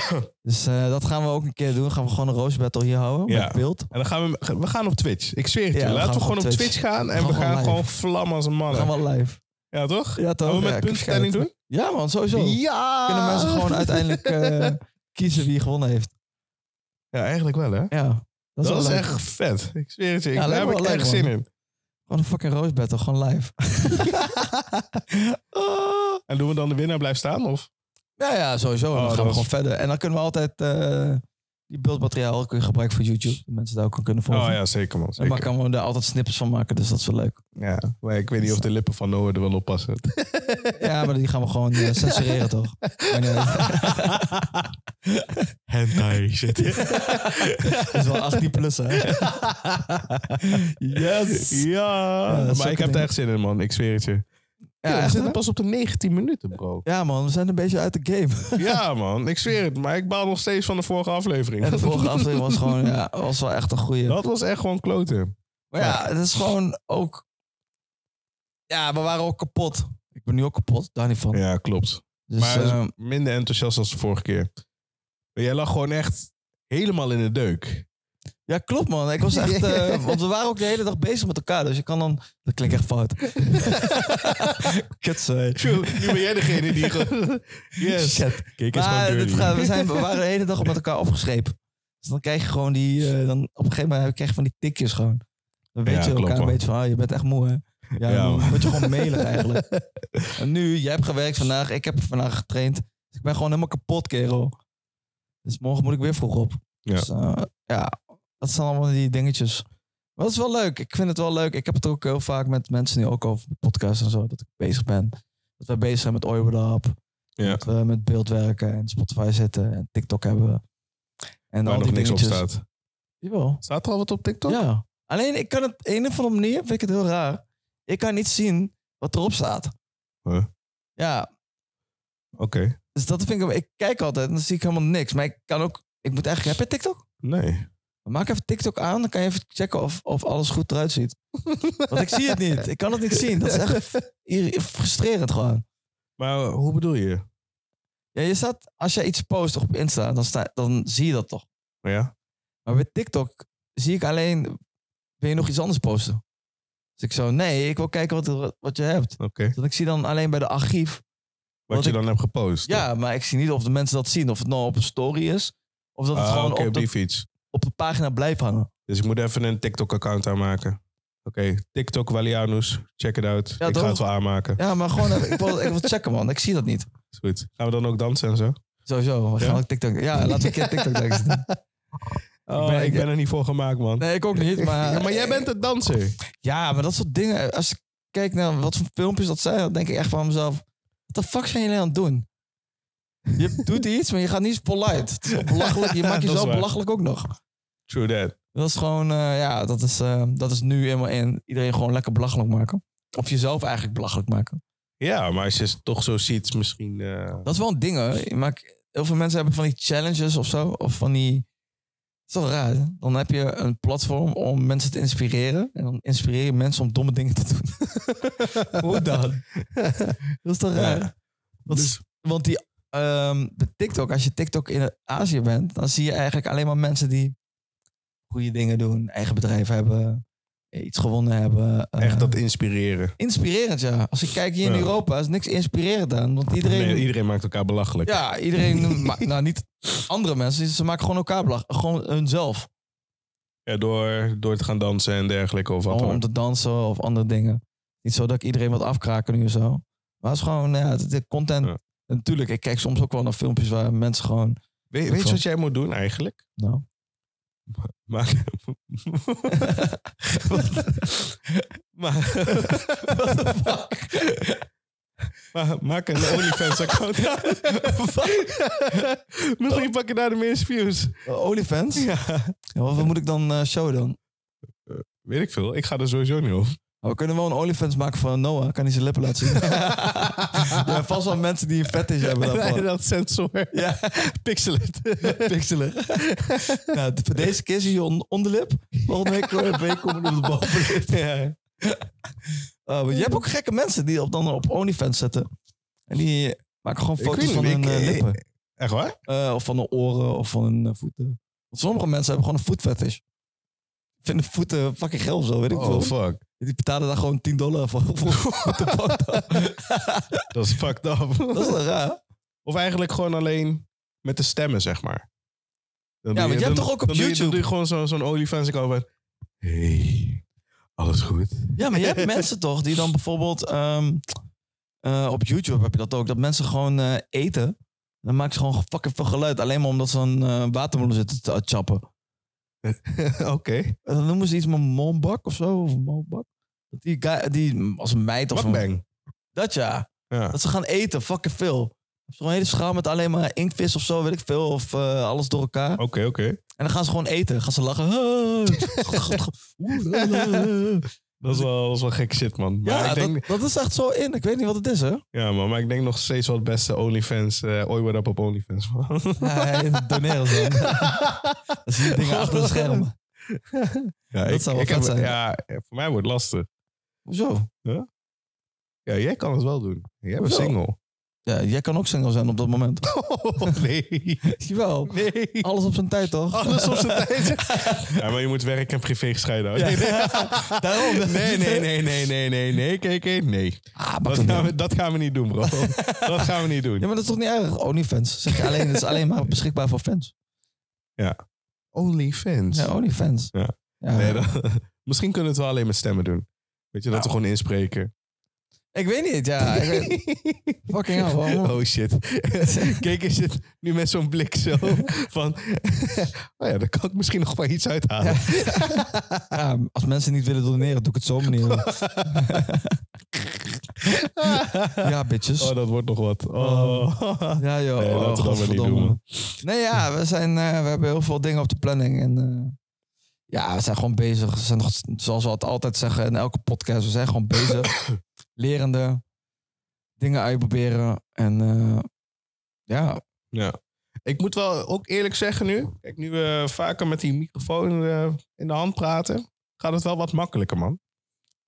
S1: Dus eh, dat gaan we ook een keer doen. Gaan we gewoon een roostbattle hier houden
S2: Ja.
S1: met beeld.
S2: En dan gaan we, we gaan op Twitch, ik zweer het
S1: Ja,
S2: je.
S1: we
S2: Laten
S1: gaan
S2: we gewoon op Twitch, gaan en we
S1: Gewoon
S2: gaan
S1: live.
S2: gewoon vlammen als een
S1: We
S2: man.
S1: gaan wel live.
S2: Ja, toch?
S1: Ja, toch?
S2: Gaan we
S1: Ja,
S2: met
S1: ik heb
S2: puntenstelling doen?
S1: schijt. Ja man, sowieso.
S2: Ja!
S1: Kunnen mensen gewoon uiteindelijk eh, kiezen wie gewonnen heeft.
S2: Ja, eigenlijk wel, hè?
S1: Ja, dat,
S2: Dat,
S1: wel
S2: is
S1: leuk.
S2: echt vet. Ik zweer het je. Ik,
S1: Ja,
S2: daar
S1: lijkt
S2: heb
S1: me
S2: ik
S1: wel
S2: echt
S1: leuk,
S2: zin
S1: man.
S2: in.
S1: Gewoon een fucking roostbattle, gewoon live.
S2: Ah. En doen we dan de winnaar blijven staan? Of?
S1: ja, ja, sowieso. En
S2: Oh,
S1: dan gaan
S2: dat
S1: we
S2: is-
S1: gewoon verder. En dan kunnen we altijd eh, die beeldmateriaal kun je gebruiken voor YouTube. Dat mensen daar ook aan kunnen volgen.
S2: Oh ja, zeker man.
S1: en
S2: Zeker.
S1: daar kan we daar altijd snippets van maken, dus dat is wel leuk.
S2: Ja, maar ik weet niet of de lippen van Noah er wel op passen.
S1: Ja, maar die gaan we gewoon eh, censureren, toch? Maar nee,
S2: Hentai shit.
S1: dat is wel 18 plus, hè?
S2: Yes. Ja.
S1: dat is
S2: maar
S1: ook een
S2: ik heb er
S1: ding.
S2: echt zin in man. Ik zweer het je. Ja, we
S1: echt,
S2: zitten
S1: hè?
S2: pas op de 19 minuten, bro.
S1: ja, man, we zijn een beetje uit de game.
S2: ja, man. Ik zweer het. Maar ik baal nog steeds van de vorige aflevering.
S1: En de vorige aflevering was gewoon, ja, was wel echt een goede.
S2: Dat was echt gewoon kloten.
S1: Maar ja, het is gewoon ook. Ja, we waren ook kapot. Ik ben nu ook kapot, daar niet van.
S2: Ja, klopt.
S1: Dus,
S2: maar hij is
S1: ehm,
S2: minder enthousiast als de vorige keer. Maar jij lag gewoon echt helemaal in de deuk.
S1: ja, klopt man. Ik was echt. eh, want we waren ook de hele dag bezig met elkaar. Dus je kan dan. Dat klinkt echt fout. Kutzooi.
S2: nu ben jij degene die gewoon... Yes.
S1: Shit.
S2: Kijk eens
S1: Maar
S2: gewoon
S1: dit
S2: dirty.
S1: gaat- we, zijn, we waren de hele dag met elkaar opgescheept. Dus dan krijg je gewoon die. eh, dan op een gegeven moment krijg je van die tikjes gewoon. Dan weet
S2: Ja,
S1: je elkaar
S2: klopt,
S1: een
S2: man.
S1: beetje van. ah, je bent echt moe hè. Ja,
S2: Ja,
S1: dan
S2: man.
S1: word je gewoon melig eigenlijk. En nu, jij hebt gewerkt vandaag. Ik heb vandaag getraind. Dus ik ben gewoon helemaal kapot, kerel. Dus morgen moet ik weer vroeg op.
S2: Ja.
S1: Dus, eh, ja, dat zijn allemaal die dingetjes. Maar dat is wel leuk. Ik vind het wel leuk. Ik heb het ook heel vaak met mensen die ook over podcasts en zo. Dat ik bezig ben. Dat wij bezig zijn met Oiberdap.
S2: Ja.
S1: Dat we met beeld werken en Spotify zitten en TikTok hebben. En
S2: Waar
S1: al
S2: nog
S1: die
S2: niks op
S1: dingetjes.
S2: staat.
S1: Jawel.
S2: Staat er al wat op TikTok?
S1: Ja. Alleen ik kan het, op een of andere manier vind ik het heel raar. Ik kan niet zien wat erop staat.
S2: Huh?
S1: Ja,
S2: Oké.
S1: dus dat vind ik, ik kijk altijd en dan zie ik helemaal niks. Maar ik kan ook, ik moet eigenlijk, heb je TikTok?
S2: Nee.
S1: Maak even TikTok aan, dan kan je even checken of, of alles goed eruit ziet. Want ik zie het niet, ik kan het niet zien. Dat is echt ir- frustrerend gewoon.
S2: Maar eh, hoe bedoel je?
S1: Ja, je staat, als jij iets post op Insta, dan, sta, dan zie je dat toch.
S2: Ja.
S1: Maar bij TikTok zie ik alleen, wil je nog iets anders posten? Dus ik zo, nee, ik wil kijken wat, er- wat je hebt.
S2: Oké.
S1: Want ik zie dan alleen bij de archief.
S2: Wat
S1: Want
S2: je
S1: ik-
S2: dan hebt gepost.
S1: Ja, maar ik zie niet of de mensen dat zien. Of het nou op een story is. Of dat het
S2: Ah,
S1: gewoon
S2: Oké,
S1: op,
S2: op
S1: de,
S2: die fiets.
S1: op de pagina blijft hangen.
S2: Dus ik moet even een TikTok-account aanmaken. Oké, TikTok Walianus. Check it out. ik
S1: toch?
S2: ga het wel aanmaken.
S1: Ja, maar gewoon, even- ik, wil, ik wil checken man. Ik zie dat niet.
S2: Is goed. Gaan we dan ook dansen en zo?
S1: Sowieso, we gaan
S2: Ja?
S1: ook TikTok. Ja, laten we een keer TikTok teksten.
S2: Oh,
S1: ik
S2: ik
S1: ben-
S2: ben,
S1: ik-
S2: er niet voor gemaakt, man.
S1: Nee, ik ook niet. Maar, eh,
S2: Ja, maar jij bent een danser.
S1: Ja, maar dat soort dingen. Als ik kijk naar wat voor filmpjes dat zijn, dan denk ik echt van mezelf: wat de fuck zijn jullie aan het doen? Je doet iets, maar je gaat niet polite. Het is belachelijk. Je
S2: Dat
S1: maakt
S2: is
S1: jezelf
S2: waar.
S1: belachelijk ook nog.
S2: True that.
S1: Dat is gewoon, eh, ja, dat is, eh, dat is nu helemaal in. Iedereen gewoon lekker belachelijk maken. Of jezelf eigenlijk belachelijk maken.
S2: Ja, maar als je het toch zo ziet, misschien... eh,
S1: Dat is wel een ding hoor. Je maakt- heel veel mensen hebben van die challenges of zo. Of van die. Dat is wel raar. hè? Dan heb je een platform om mensen te inspireren. En dan inspireer je mensen om domme dingen te doen. Hoe dan? dat is toch raar?
S2: Ja.
S1: Want,
S2: Dus-
S1: want die, ehm, de TikTok, als je TikTok in Azië bent, dan zie je eigenlijk alleen maar mensen die goede dingen doen, eigen bedrijf hebben, eh, iets gewonnen hebben. eh,
S2: echt dat inspireren.
S1: Inspirerend, ja. Als ik kijk hier in
S2: Ja.
S1: Europa, is niks inspirerend aan. Want iedereen,
S2: Nee, iedereen maakt elkaar belachelijk.
S1: ja, iedereen. ma- nou, niet andere mensen. Ze maken gewoon elkaar belachelijk. Gewoon hunzelf.
S2: Ja, door, door te gaan dansen en dergelijke of wat
S1: Om,
S2: dan
S1: om
S2: ook.
S1: te dansen of andere dingen. Niet zo dat ik iedereen wat afkraken nu of zo. Maar het is gewoon, ja, de- de content.
S2: Ja.
S1: En Natuurlijk, ik kijk soms ook wel naar filmpjes waar mensen gewoon.
S2: Weet, weet je wat jij moet doen eigenlijk?
S1: Nou,
S2: Maak, maar,
S1: what the fuck?
S2: maar, maak een OnlyFans-account. Misschien pak je daar de meeste views.
S1: Eh, Olifants? Ja.
S2: Ja,
S1: wat, wat moet ik dan eh show dan? Oh,
S2: weet ik veel. Ik ga er sowieso niet op.
S1: We kunnen wel een Olifants maken van Noah. Kan hij zijn lippen laten zien? ja, vast wel mensen die een fetish hebben daarvan.
S2: Nee, dat sensor.
S1: Ja.
S2: Pixelet.
S1: Pixelen. nou, voor deze keer zie je on- onderlip. Volgende week, eh, week komen we op de bovenlip.
S2: ja.
S1: Oh, maar je hebt ook gekke mensen die op, dan op OnlyFans zetten. En die maken gewoon
S2: Ik
S1: foto's
S2: weet
S1: van
S2: niet,
S1: hun
S2: ik-
S1: eh,
S2: ik-
S1: lippen.
S2: Echt waar?
S1: Eh, of van hun oren of van hun eh, voeten. Want sommige mensen hebben gewoon een voetfetish. Vinden voeten fucking geld of zo, weet ik
S2: Oh,
S1: veel.
S2: fuck.
S1: Die betalen daar gewoon 10 dollar voor. voor- voor de foto.
S2: Dat is fucked up.
S1: Dat is wel raar.
S2: Of eigenlijk gewoon alleen met de stemmen, zeg maar. Dan
S1: Ja,
S2: doe
S1: want je hebt toch ook op
S2: dan doe je-
S1: YouTube?
S2: dan doe je gewoon zo- zo'n olifant. Ik over. Hey, alles goed?
S1: Ja, maar je hebt mensen toch die dan bijvoorbeeld ehm, eh, op YouTube heb je dat ook, dat mensen gewoon eh, eten. Dan maken ze gewoon fucking veel geluid. Alleen maar omdat ze een eh watermeloen zitten te chappen.
S2: Oké.
S1: En dan noemen ze iets met monbak of zo. Of monbak. Dat die, guy, die als een meid of een,
S2: Bakbang.
S1: Dat ja.
S2: Ja.
S1: Dat ze gaan eten, fucking veel. Ze hebben Zo'n hele schaal met alleen maar inktvis of zo, weet ik veel. Of eh, alles door elkaar.
S2: Oké, oké.
S1: En dan gaan ze gewoon eten. Gaan ze lachen.
S2: Dat is wel, dat is wel gek shit, man. Maar
S1: Ja,
S2: ik denk,
S1: dat, dat is echt zo in. Ik weet niet wat het is, hè?
S2: ja man, maar ik denk nog steeds wel het beste OnlyFans. eh ooit wat op op OnlyFans, man.
S1: Ja, hij- doneren ze dan. Dat zijn die dingen achter de schermen.
S2: Ja,
S1: Dat
S2: ik,
S1: zou wel vet
S2: ik heb,
S1: zijn.
S2: Ja, eh, voor mij wordt het lastig.
S1: Hoezo?
S2: Ja, jij kan het wel doen. Jij bent
S1: Hoezo?
S2: single.
S1: Ja, jij kan ook single zijn op dat moment.
S2: nee.
S1: Jawel.
S2: Nee.
S1: Alles op zijn tijd, toch?
S2: Alles op zijn tijd. Ja, maar je moet werk en privé gescheiden houden.
S1: Ja.
S2: Nee, nee.
S1: Daarom.
S2: Nee, nee, nee, nee, nee, nee, nee, KK, nee.
S1: Ah, maar
S2: Dat
S1: ik-
S2: gaan, we, dat gaan we niet doen, bro. Dat gaan we niet doen.
S1: Ja, maar dat is toch niet erg? OnlyFans. Zeg je alleen, dat is alleen maar beschikbaar voor fans.
S2: OnlyFans.
S1: Ja, oh, OnlyFans.
S2: Ja. Nee, dat- misschien kunnen we het wel alleen met stemmen doen. Weet je, dat we gewoon inspreken.
S1: Ik weet niet, ja. Ik weet- fucking hell, waarom?
S2: oh shit. Kijk eens, het nu met zo'n blik zo van... oh ja, daar kan ik misschien nog wel iets uithalen.
S1: Ja, als mensen niet willen doneren, doe ik het zo, meneer. Ja, bitches.
S2: Oh, dat wordt nog wat. Oh.
S1: Ja, joh.
S2: Nee,
S1: oh,
S2: laten we dat maar niet doen,
S1: godverdomme.
S2: man.
S1: Nee, ja, we, zijn, eh, we hebben heel veel dingen op de planning. En eh, ja, we zijn gewoon bezig. We zijn nog, zoals we het altijd zeggen in elke podcast, we zijn gewoon bezig. Lerende. Dingen uitproberen. En eh, ja,
S2: Ik moet wel ook eerlijk zeggen nu. Kijk, nu we vaker met die microfoon eh, in de hand praten, gaat het wel wat makkelijker, man.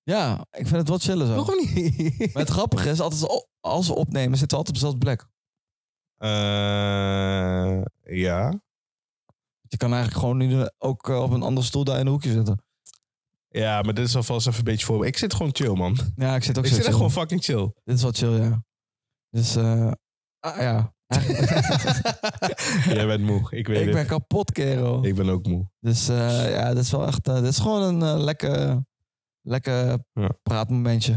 S1: ja, ik vind het wel chillen zo.
S2: Toch niet?
S1: Maar het grappige is, altijd als- als we opnemen, zitten we altijd op dezelfde plek.
S2: Eh, ja.
S1: Je kan eigenlijk gewoon nu de- ook eh, op een andere stoel daar in een hoekje zitten.
S2: Ja, maar dit is alvast even een beetje voor. Ik zit gewoon chill, man.
S1: Ja, ik zit ook
S2: ik
S1: zo
S2: zit echt
S1: chill.
S2: gewoon fucking chill.
S1: Dit is wel chill, ja. Dus eh, ah, ja,
S2: Jij bent moe, ik weet
S1: ik
S2: het.
S1: ben kapot, kerel.
S2: Ik ben ook moe.
S1: Dus eh, ja, dit is wel echt. eh, dit is gewoon een eh, lekker, lekker
S2: Ja.
S1: praatmomentje.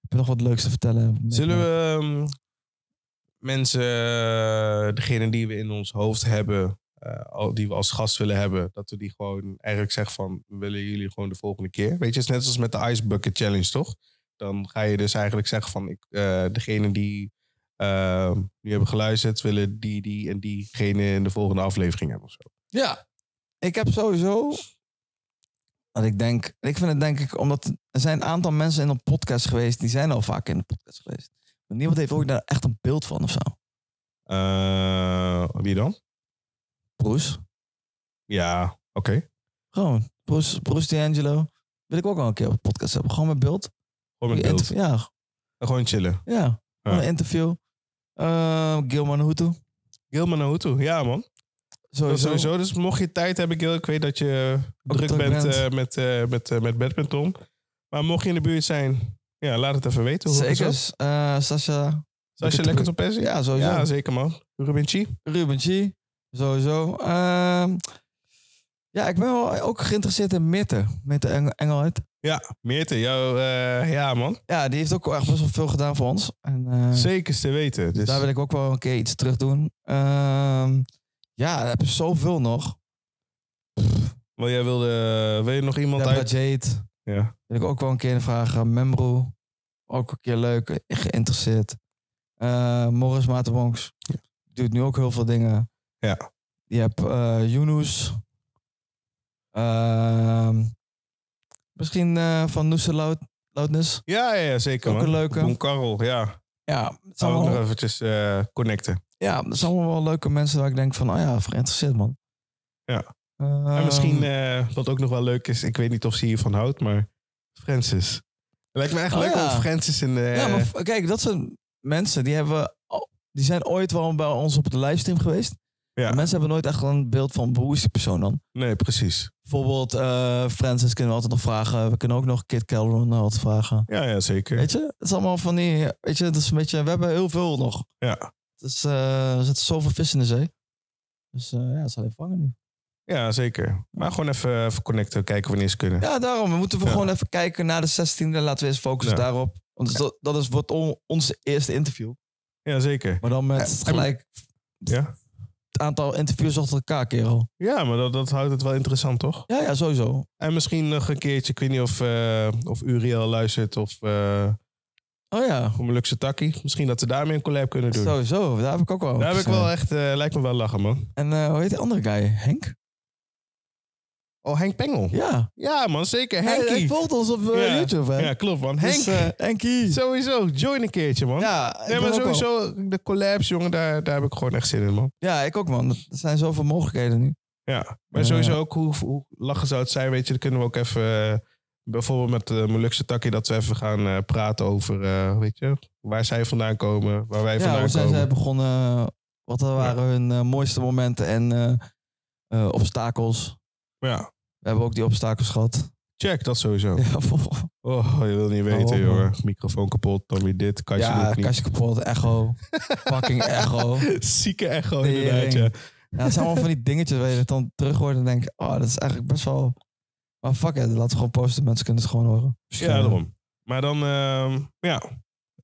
S1: Ik heb nog wat leuks te vertellen.
S2: Zullen we ehm, mensen, eh, degene die we in ons hoofd hebben, eh, al- die we als gast willen hebben, dat we die gewoon eigenlijk zeggen van, we willen jullie gewoon de volgende keer. Weet je, het is net als met de Ice Bucket Challenge, toch? Dan ga je dus eigenlijk zeggen van, ik, eh, degene die ehm, nu hebben geluisterd, willen die, die en diegene in de volgende aflevering hebben of zo.
S1: Ja. Ik heb sowieso. Wat ik denk. Ik vind het denk ik. Omdat er zijn een aantal mensen in een podcast geweest. Die zijn al vaak in de podcast geweest. Maar niemand heeft ook daar echt een beeld van of zo.
S2: Eh, wie dan?
S1: Bruce.
S2: Ja, oké.
S1: Gewoon. Bruce, Bruce D'Angelo. Wil ik ook wel een keer op een podcast hebben. Gewoon met beeld.
S2: Gewoon met beeld.
S1: Interv- Ja.
S2: Gewoon chillen.
S1: Ja. Gewoon een interview. Eh Gilman Hutu.
S2: Gilman Nahutu, ja man. Dat
S1: Sowieso.
S2: sowieso. Dus mocht je tijd hebben, Gil, ik weet dat je
S1: Ook
S2: druk
S1: druk
S2: bent,
S1: bent.
S2: eh, met, eh, met, eh, met badminton. Maar mocht je in de buurt zijn, ja, laat het even weten. Hoe
S1: Zeker. Eh Sasha.
S2: Als je
S1: Lekker
S2: lekker
S1: druk.
S2: op persie?
S1: Ja, sowieso.
S2: ja, zeker man. Ruben Chi?
S1: Ruben G. Sowieso. Ehm, ja, ik ben wel ook geïnteresseerd in Mitte. Mitte Eng Engelheid.
S2: Ja, Meerte, jou, eh, ja man.
S1: Ja, die heeft ook echt best wel veel gedaan voor ons. En, eh,
S2: Zeker te weten. Dus,
S1: Daar wil ik ook wel een keer iets terug doen. Ehm, ja, daar heb je zoveel nog.
S2: Want jij wilde, wil je nog iemand
S1: Deborah
S2: uit?
S1: Jade.
S2: Ja.
S1: Wil ik ook wel een keer vragen. Membro. Ook een keer leuk. eh, Geïnteresseerd. Eh Morris Matenbonks. Doet nu ook heel veel dingen.
S2: Ja.
S1: Je hebt eh Yunus. Ehm, misschien eh, van Noese Loud, Loudness.
S2: Ja, ja, ja, zeker
S1: Ook
S2: man.
S1: een leuke.
S2: Boen Karel, ja.
S1: Ja, het zijn
S2: Zou ik nog
S1: allemaal,
S2: eventjes eh, connecten.
S1: ja, het zijn allemaal wel leuke mensen waar ik denk van, oh ja, geïnteresseerd man.
S2: Ja.
S1: Ehm,
S2: en misschien, eh, wat ook nog wel leuk is, ik weet niet of ze hiervan houdt, maar Francis. Lijkt me echt
S1: Oh,
S2: leuk
S1: ja.
S2: om Francis in de...
S1: Ja, maar v- kijk, dat zijn mensen die hebben. al- Die zijn ooit wel bij ons op de livestream geweest.
S2: Ja.
S1: Maar Mensen hebben nooit echt een beeld van hoe is die persoon dan.
S2: Nee, precies.
S1: Bijvoorbeeld eh Francis kunnen we altijd nog vragen. We kunnen ook nog Kit Calderon wat vragen.
S2: Ja, ja zeker.
S1: Weet je, het is allemaal van die... Weet je, het is een beetje... We hebben heel veel nog.
S2: Ja.
S1: Dus er zitten zoveel vis in de zee. Dus eh, ja, het zal even vangen nu.
S2: Ja, zeker. Maar gewoon even, even connecten, kijken wanneer ze kunnen.
S1: Ja, daarom. We moeten we
S2: Ja.
S1: gewoon even kijken naar de 16e. Laten we eens focussen
S2: Ja.
S1: daarop. Want dat, dat is wordt on- onze eerste interview.
S2: Ja, zeker.
S1: Maar dan met
S2: Ja, en-
S1: gelijk
S2: Ja,
S1: het aantal interviews achter elkaar, kerel.
S2: ja maar dat, dat houdt het wel interessant, toch?
S1: Ja, ja, sowieso. Oh
S2: En misschien nog een keertje, ik weet niet of, eh, of Uriel luistert of eh
S1: Oh ja,
S2: Gomelukse Taki. Misschien dat ze daarmee een collab kunnen doen.
S1: sowieso. Daar heb ik ook wel.
S2: Daar heb ik
S1: over
S2: wel echt, eh, lijkt me wel lachen, man.
S1: gezien. En eh, hoe heet die andere guy? Henk?
S2: Oh, Henk Pengel.
S1: Ja.
S2: Ja, man, zeker.
S1: Hij, hij
S2: Henkie.
S1: volgt ons op eh,
S2: Ja.
S1: YouTube, hè?
S2: Ja, klopt, man. Henk.
S1: Dus, eh, Henkie.
S2: Sowieso, join een keertje, man.
S1: Ja, ik
S2: nee, maar
S1: ben ook al-
S2: sowieso, de collabs, jongen, daar, daar heb ik gewoon echt zin in, man.
S1: Ja, ik ook, man. Er zijn zoveel mogelijkheden nu.
S2: Ja, maar
S1: Ja.
S2: sowieso ook hoe, hoe lachen zou het zijn, weet je. Dan kunnen we ook even, eh, bijvoorbeeld met eh Molukse Takkie, dat we even gaan eh, praten over, eh, weet je, waar zij vandaan komen, waar wij
S1: Ja, hoe
S2: vandaan
S1: zijn
S2: komen.
S1: zij begonnen? eh, Wat waren hun eh, mooiste momenten en eh, eh, obstakels?
S2: Ja,
S1: We hebben ook die obstakels gehad.
S2: check dat sowieso.
S1: Ja, vol-
S2: Oh, je wil niet weten,
S1: man.
S2: jongen. Microfoon kapot, dan weer dit, kastje doet
S1: ja,
S2: het niet.
S1: kastje kapot, echo. Fucking echo.
S2: Zieke echo,
S1: Tering.
S2: inderdaad, ja.
S1: Ja, het zijn allemaal van die dingetjes waar je het dan terug hoort en denkt, oh, dat is eigenlijk best wel... Maar fuck it, laten we gewoon posten. Mensen kunnen het gewoon horen.
S2: Ja, daarom. Maar dan, ehm, ja,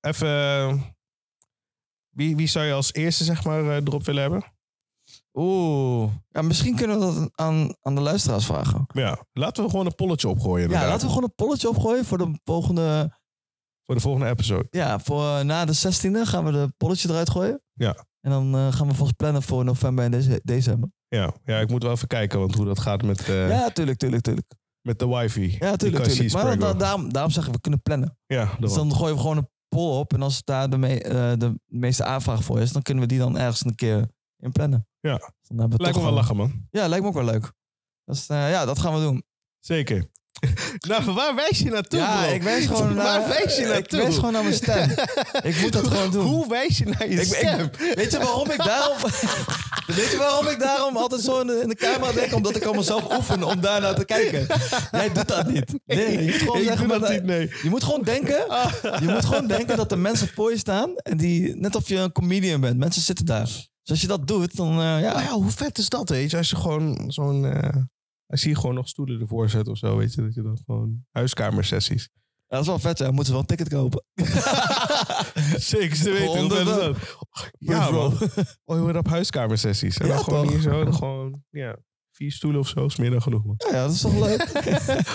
S2: even... eh, wie, wie zou je als eerste, zeg maar, eh, erop willen hebben?
S1: Oeh. Ja, misschien kunnen we dat aan, aan de luisteraars vragen.
S2: Ja, laten we gewoon een polletje opgooien.
S1: Ja,
S2: inderdaad.
S1: laten we gewoon een polletje opgooien voor de volgende...
S2: Voor de volgende episode.
S1: Ja, voor, eh, na de 16e gaan we de polletje eruit gooien.
S2: Ja.
S1: En dan eh, gaan we vast plannen voor november en deze- december.
S2: Ja, ja, ik moet wel even kijken want hoe dat gaat met, eh,
S1: Ja, tuurlijk, tuurlijk, tuurlijk.
S2: met de wifi.
S1: Ja,
S2: Die
S1: tuurlijk,
S2: Cassie
S1: tuurlijk. Maar dan,
S2: Sprego.
S1: dan- daarom, daarom zeggen we, we kunnen plannen.
S2: ja, daarom.
S1: Dus dan gooien we gewoon een poll op. En als daar de, me- eh, de meeste aanvraag voor is, dan kunnen we die dan ergens een keer in plannen.
S2: Ja.
S1: Dus dan hebben we
S2: Lijkt me
S1: toch
S2: wel
S1: gewoon-
S2: lachen, man.
S1: Ja, lijkt me ook wel leuk. Dus eh, ja, dat gaan we doen.
S2: Zeker. nou, waar wijs je naartoe,
S1: ja,
S2: bro?
S1: ik wijs gewoon naar...
S2: Waar wijs je naartoe?
S1: Ik wijs gewoon naar mijn stem. ik moet dat gewoon doen.
S2: Hoe wijs je naar je
S1: Ik- ik-
S2: stem?
S1: Weet je waarom ik daarom... Weet je waarom ik daarom altijd zo in de, in de camera denk? Omdat ik al mezelf oefen om daarnaar te kijken. Jij doet dat niet. Nee, je moet gewoon
S2: ik
S1: zeggen...
S2: doe dat
S1: maar-
S2: niet, nee.
S1: Je moet gewoon denken.
S2: Ah.
S1: Je moet gewoon denken dat er mensen voor je staan. En die, net of je een comedian bent. Mensen zitten daar. Dus als je dat doet, dan eh,
S2: Nou
S1: ja.
S2: ja, hoe vet is dat, weet je? Als je gewoon zo'n... eh, als je hier gewoon nog stoelen ervoor zet of zo, weet je? Dat je dan gewoon huiskamersessies.
S1: Dat is wel vet, ja. Moeten ze wel een ticket kopen.
S2: Zeker te
S1: weten, hoe vet is dat?
S2: Ja,
S1: bro.
S2: man. Oh, je wordt op huiskamersessies. En
S1: Ja,
S2: dan gewoon
S1: toch?
S2: hier zo, en dan gewoon... Ja, vier stoelen of zo is meer dan genoeg, man.
S1: Ja, ja, dat is toch leuk.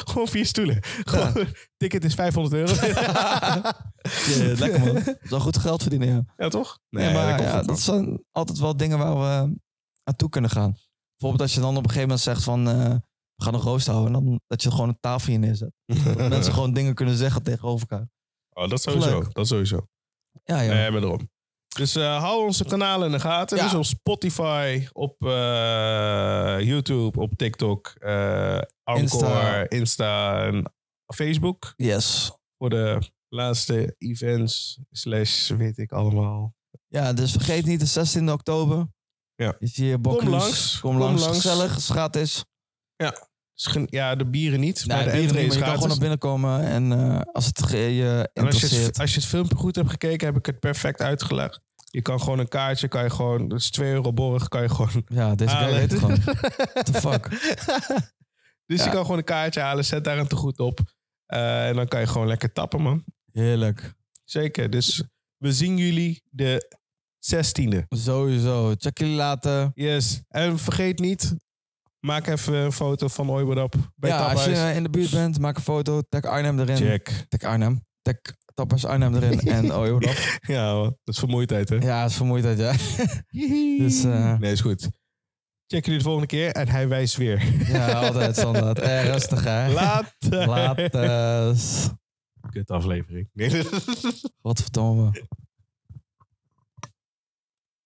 S2: gewoon vier stoelen. Gewoon, ticket is 500 euro.
S1: Ja, lekker man. Dat is wel goed geld verdienen, ja.
S2: ja, toch?
S1: Nee,
S2: dat
S1: maar
S2: komt
S1: ja,
S2: goed, man.
S1: dat zijn altijd wel dingen waar we aan toe kunnen gaan. Bijvoorbeeld als je dan op een gegeven moment zegt van... eh, we gaan een roost houden. En dan dat je gewoon een tafel hier neerzet. Dat mensen gewoon dingen kunnen zeggen tegenover elkaar.
S2: Oh, dat sowieso.
S1: Leuk.
S2: Dat sowieso.
S1: Ja, ja.
S2: Nee, maar daarom. Dus eh, hou onze kanalen in de gaten.
S1: Ja.
S2: Dus op Spotify, op eh, YouTube, op TikTok, eh Anchor, Insta.
S1: Insta.
S2: en Facebook.
S1: Yes.
S2: Voor de laatste events, slash weet ik allemaal.
S1: Ja, dus vergeet niet de 16 oktober.
S2: Ja.
S1: Is hier Bokkeloes.
S2: Kom langs,
S1: Kom
S2: kom
S1: langs.
S2: langs.
S1: Gezellig, het is gratis.
S2: Dus gen- ja, de bieren niet,
S1: Nou,
S2: maar de
S1: bier niet,
S2: entree is
S1: maar je kan
S2: gratis.
S1: gewoon naar binnen komen. En eh, als het ge- je
S2: En als je,
S1: interesseert.
S2: het, als je het filmpje goed hebt gekeken, heb ik het perfect uitgelegd. Je kan gewoon een kaartje, kan je gewoon, dat is 2 euro borg, kan je gewoon.
S1: Ja, deze guy
S2: Halen.
S1: weet het gewoon. What the fuck?
S2: Dus je
S1: Ja.
S2: kan gewoon een kaartje halen, zet daar een tegoed op. Eh, en dan kan je gewoon lekker tappen, man.
S1: Heerlijk.
S2: Zeker. Dus we zien jullie de 16e.
S1: Sowieso. Check jullie later.
S2: Yes. En vergeet niet, maak even een foto van Oibodap bij
S1: ja, als
S2: Taphuis.
S1: je eh, in de buurt bent, maak een foto. Tag Arnhem erin.
S2: Check.
S1: Tag Arnhem. Tag Tappers Arnhem erin. en oh joh, dat.
S2: Ja, man. dat is vermoeidheid, hè?
S1: Ja, is vermoeidheid, ja. Dus, eh,
S2: Nee, is goed. Check jullie de volgende keer en hij wijst weer.
S1: ja, altijd standaard. Eh, rustig, hè.
S2: Later.
S1: Later.
S2: Kut aflevering. Nee.
S1: Godverdomme.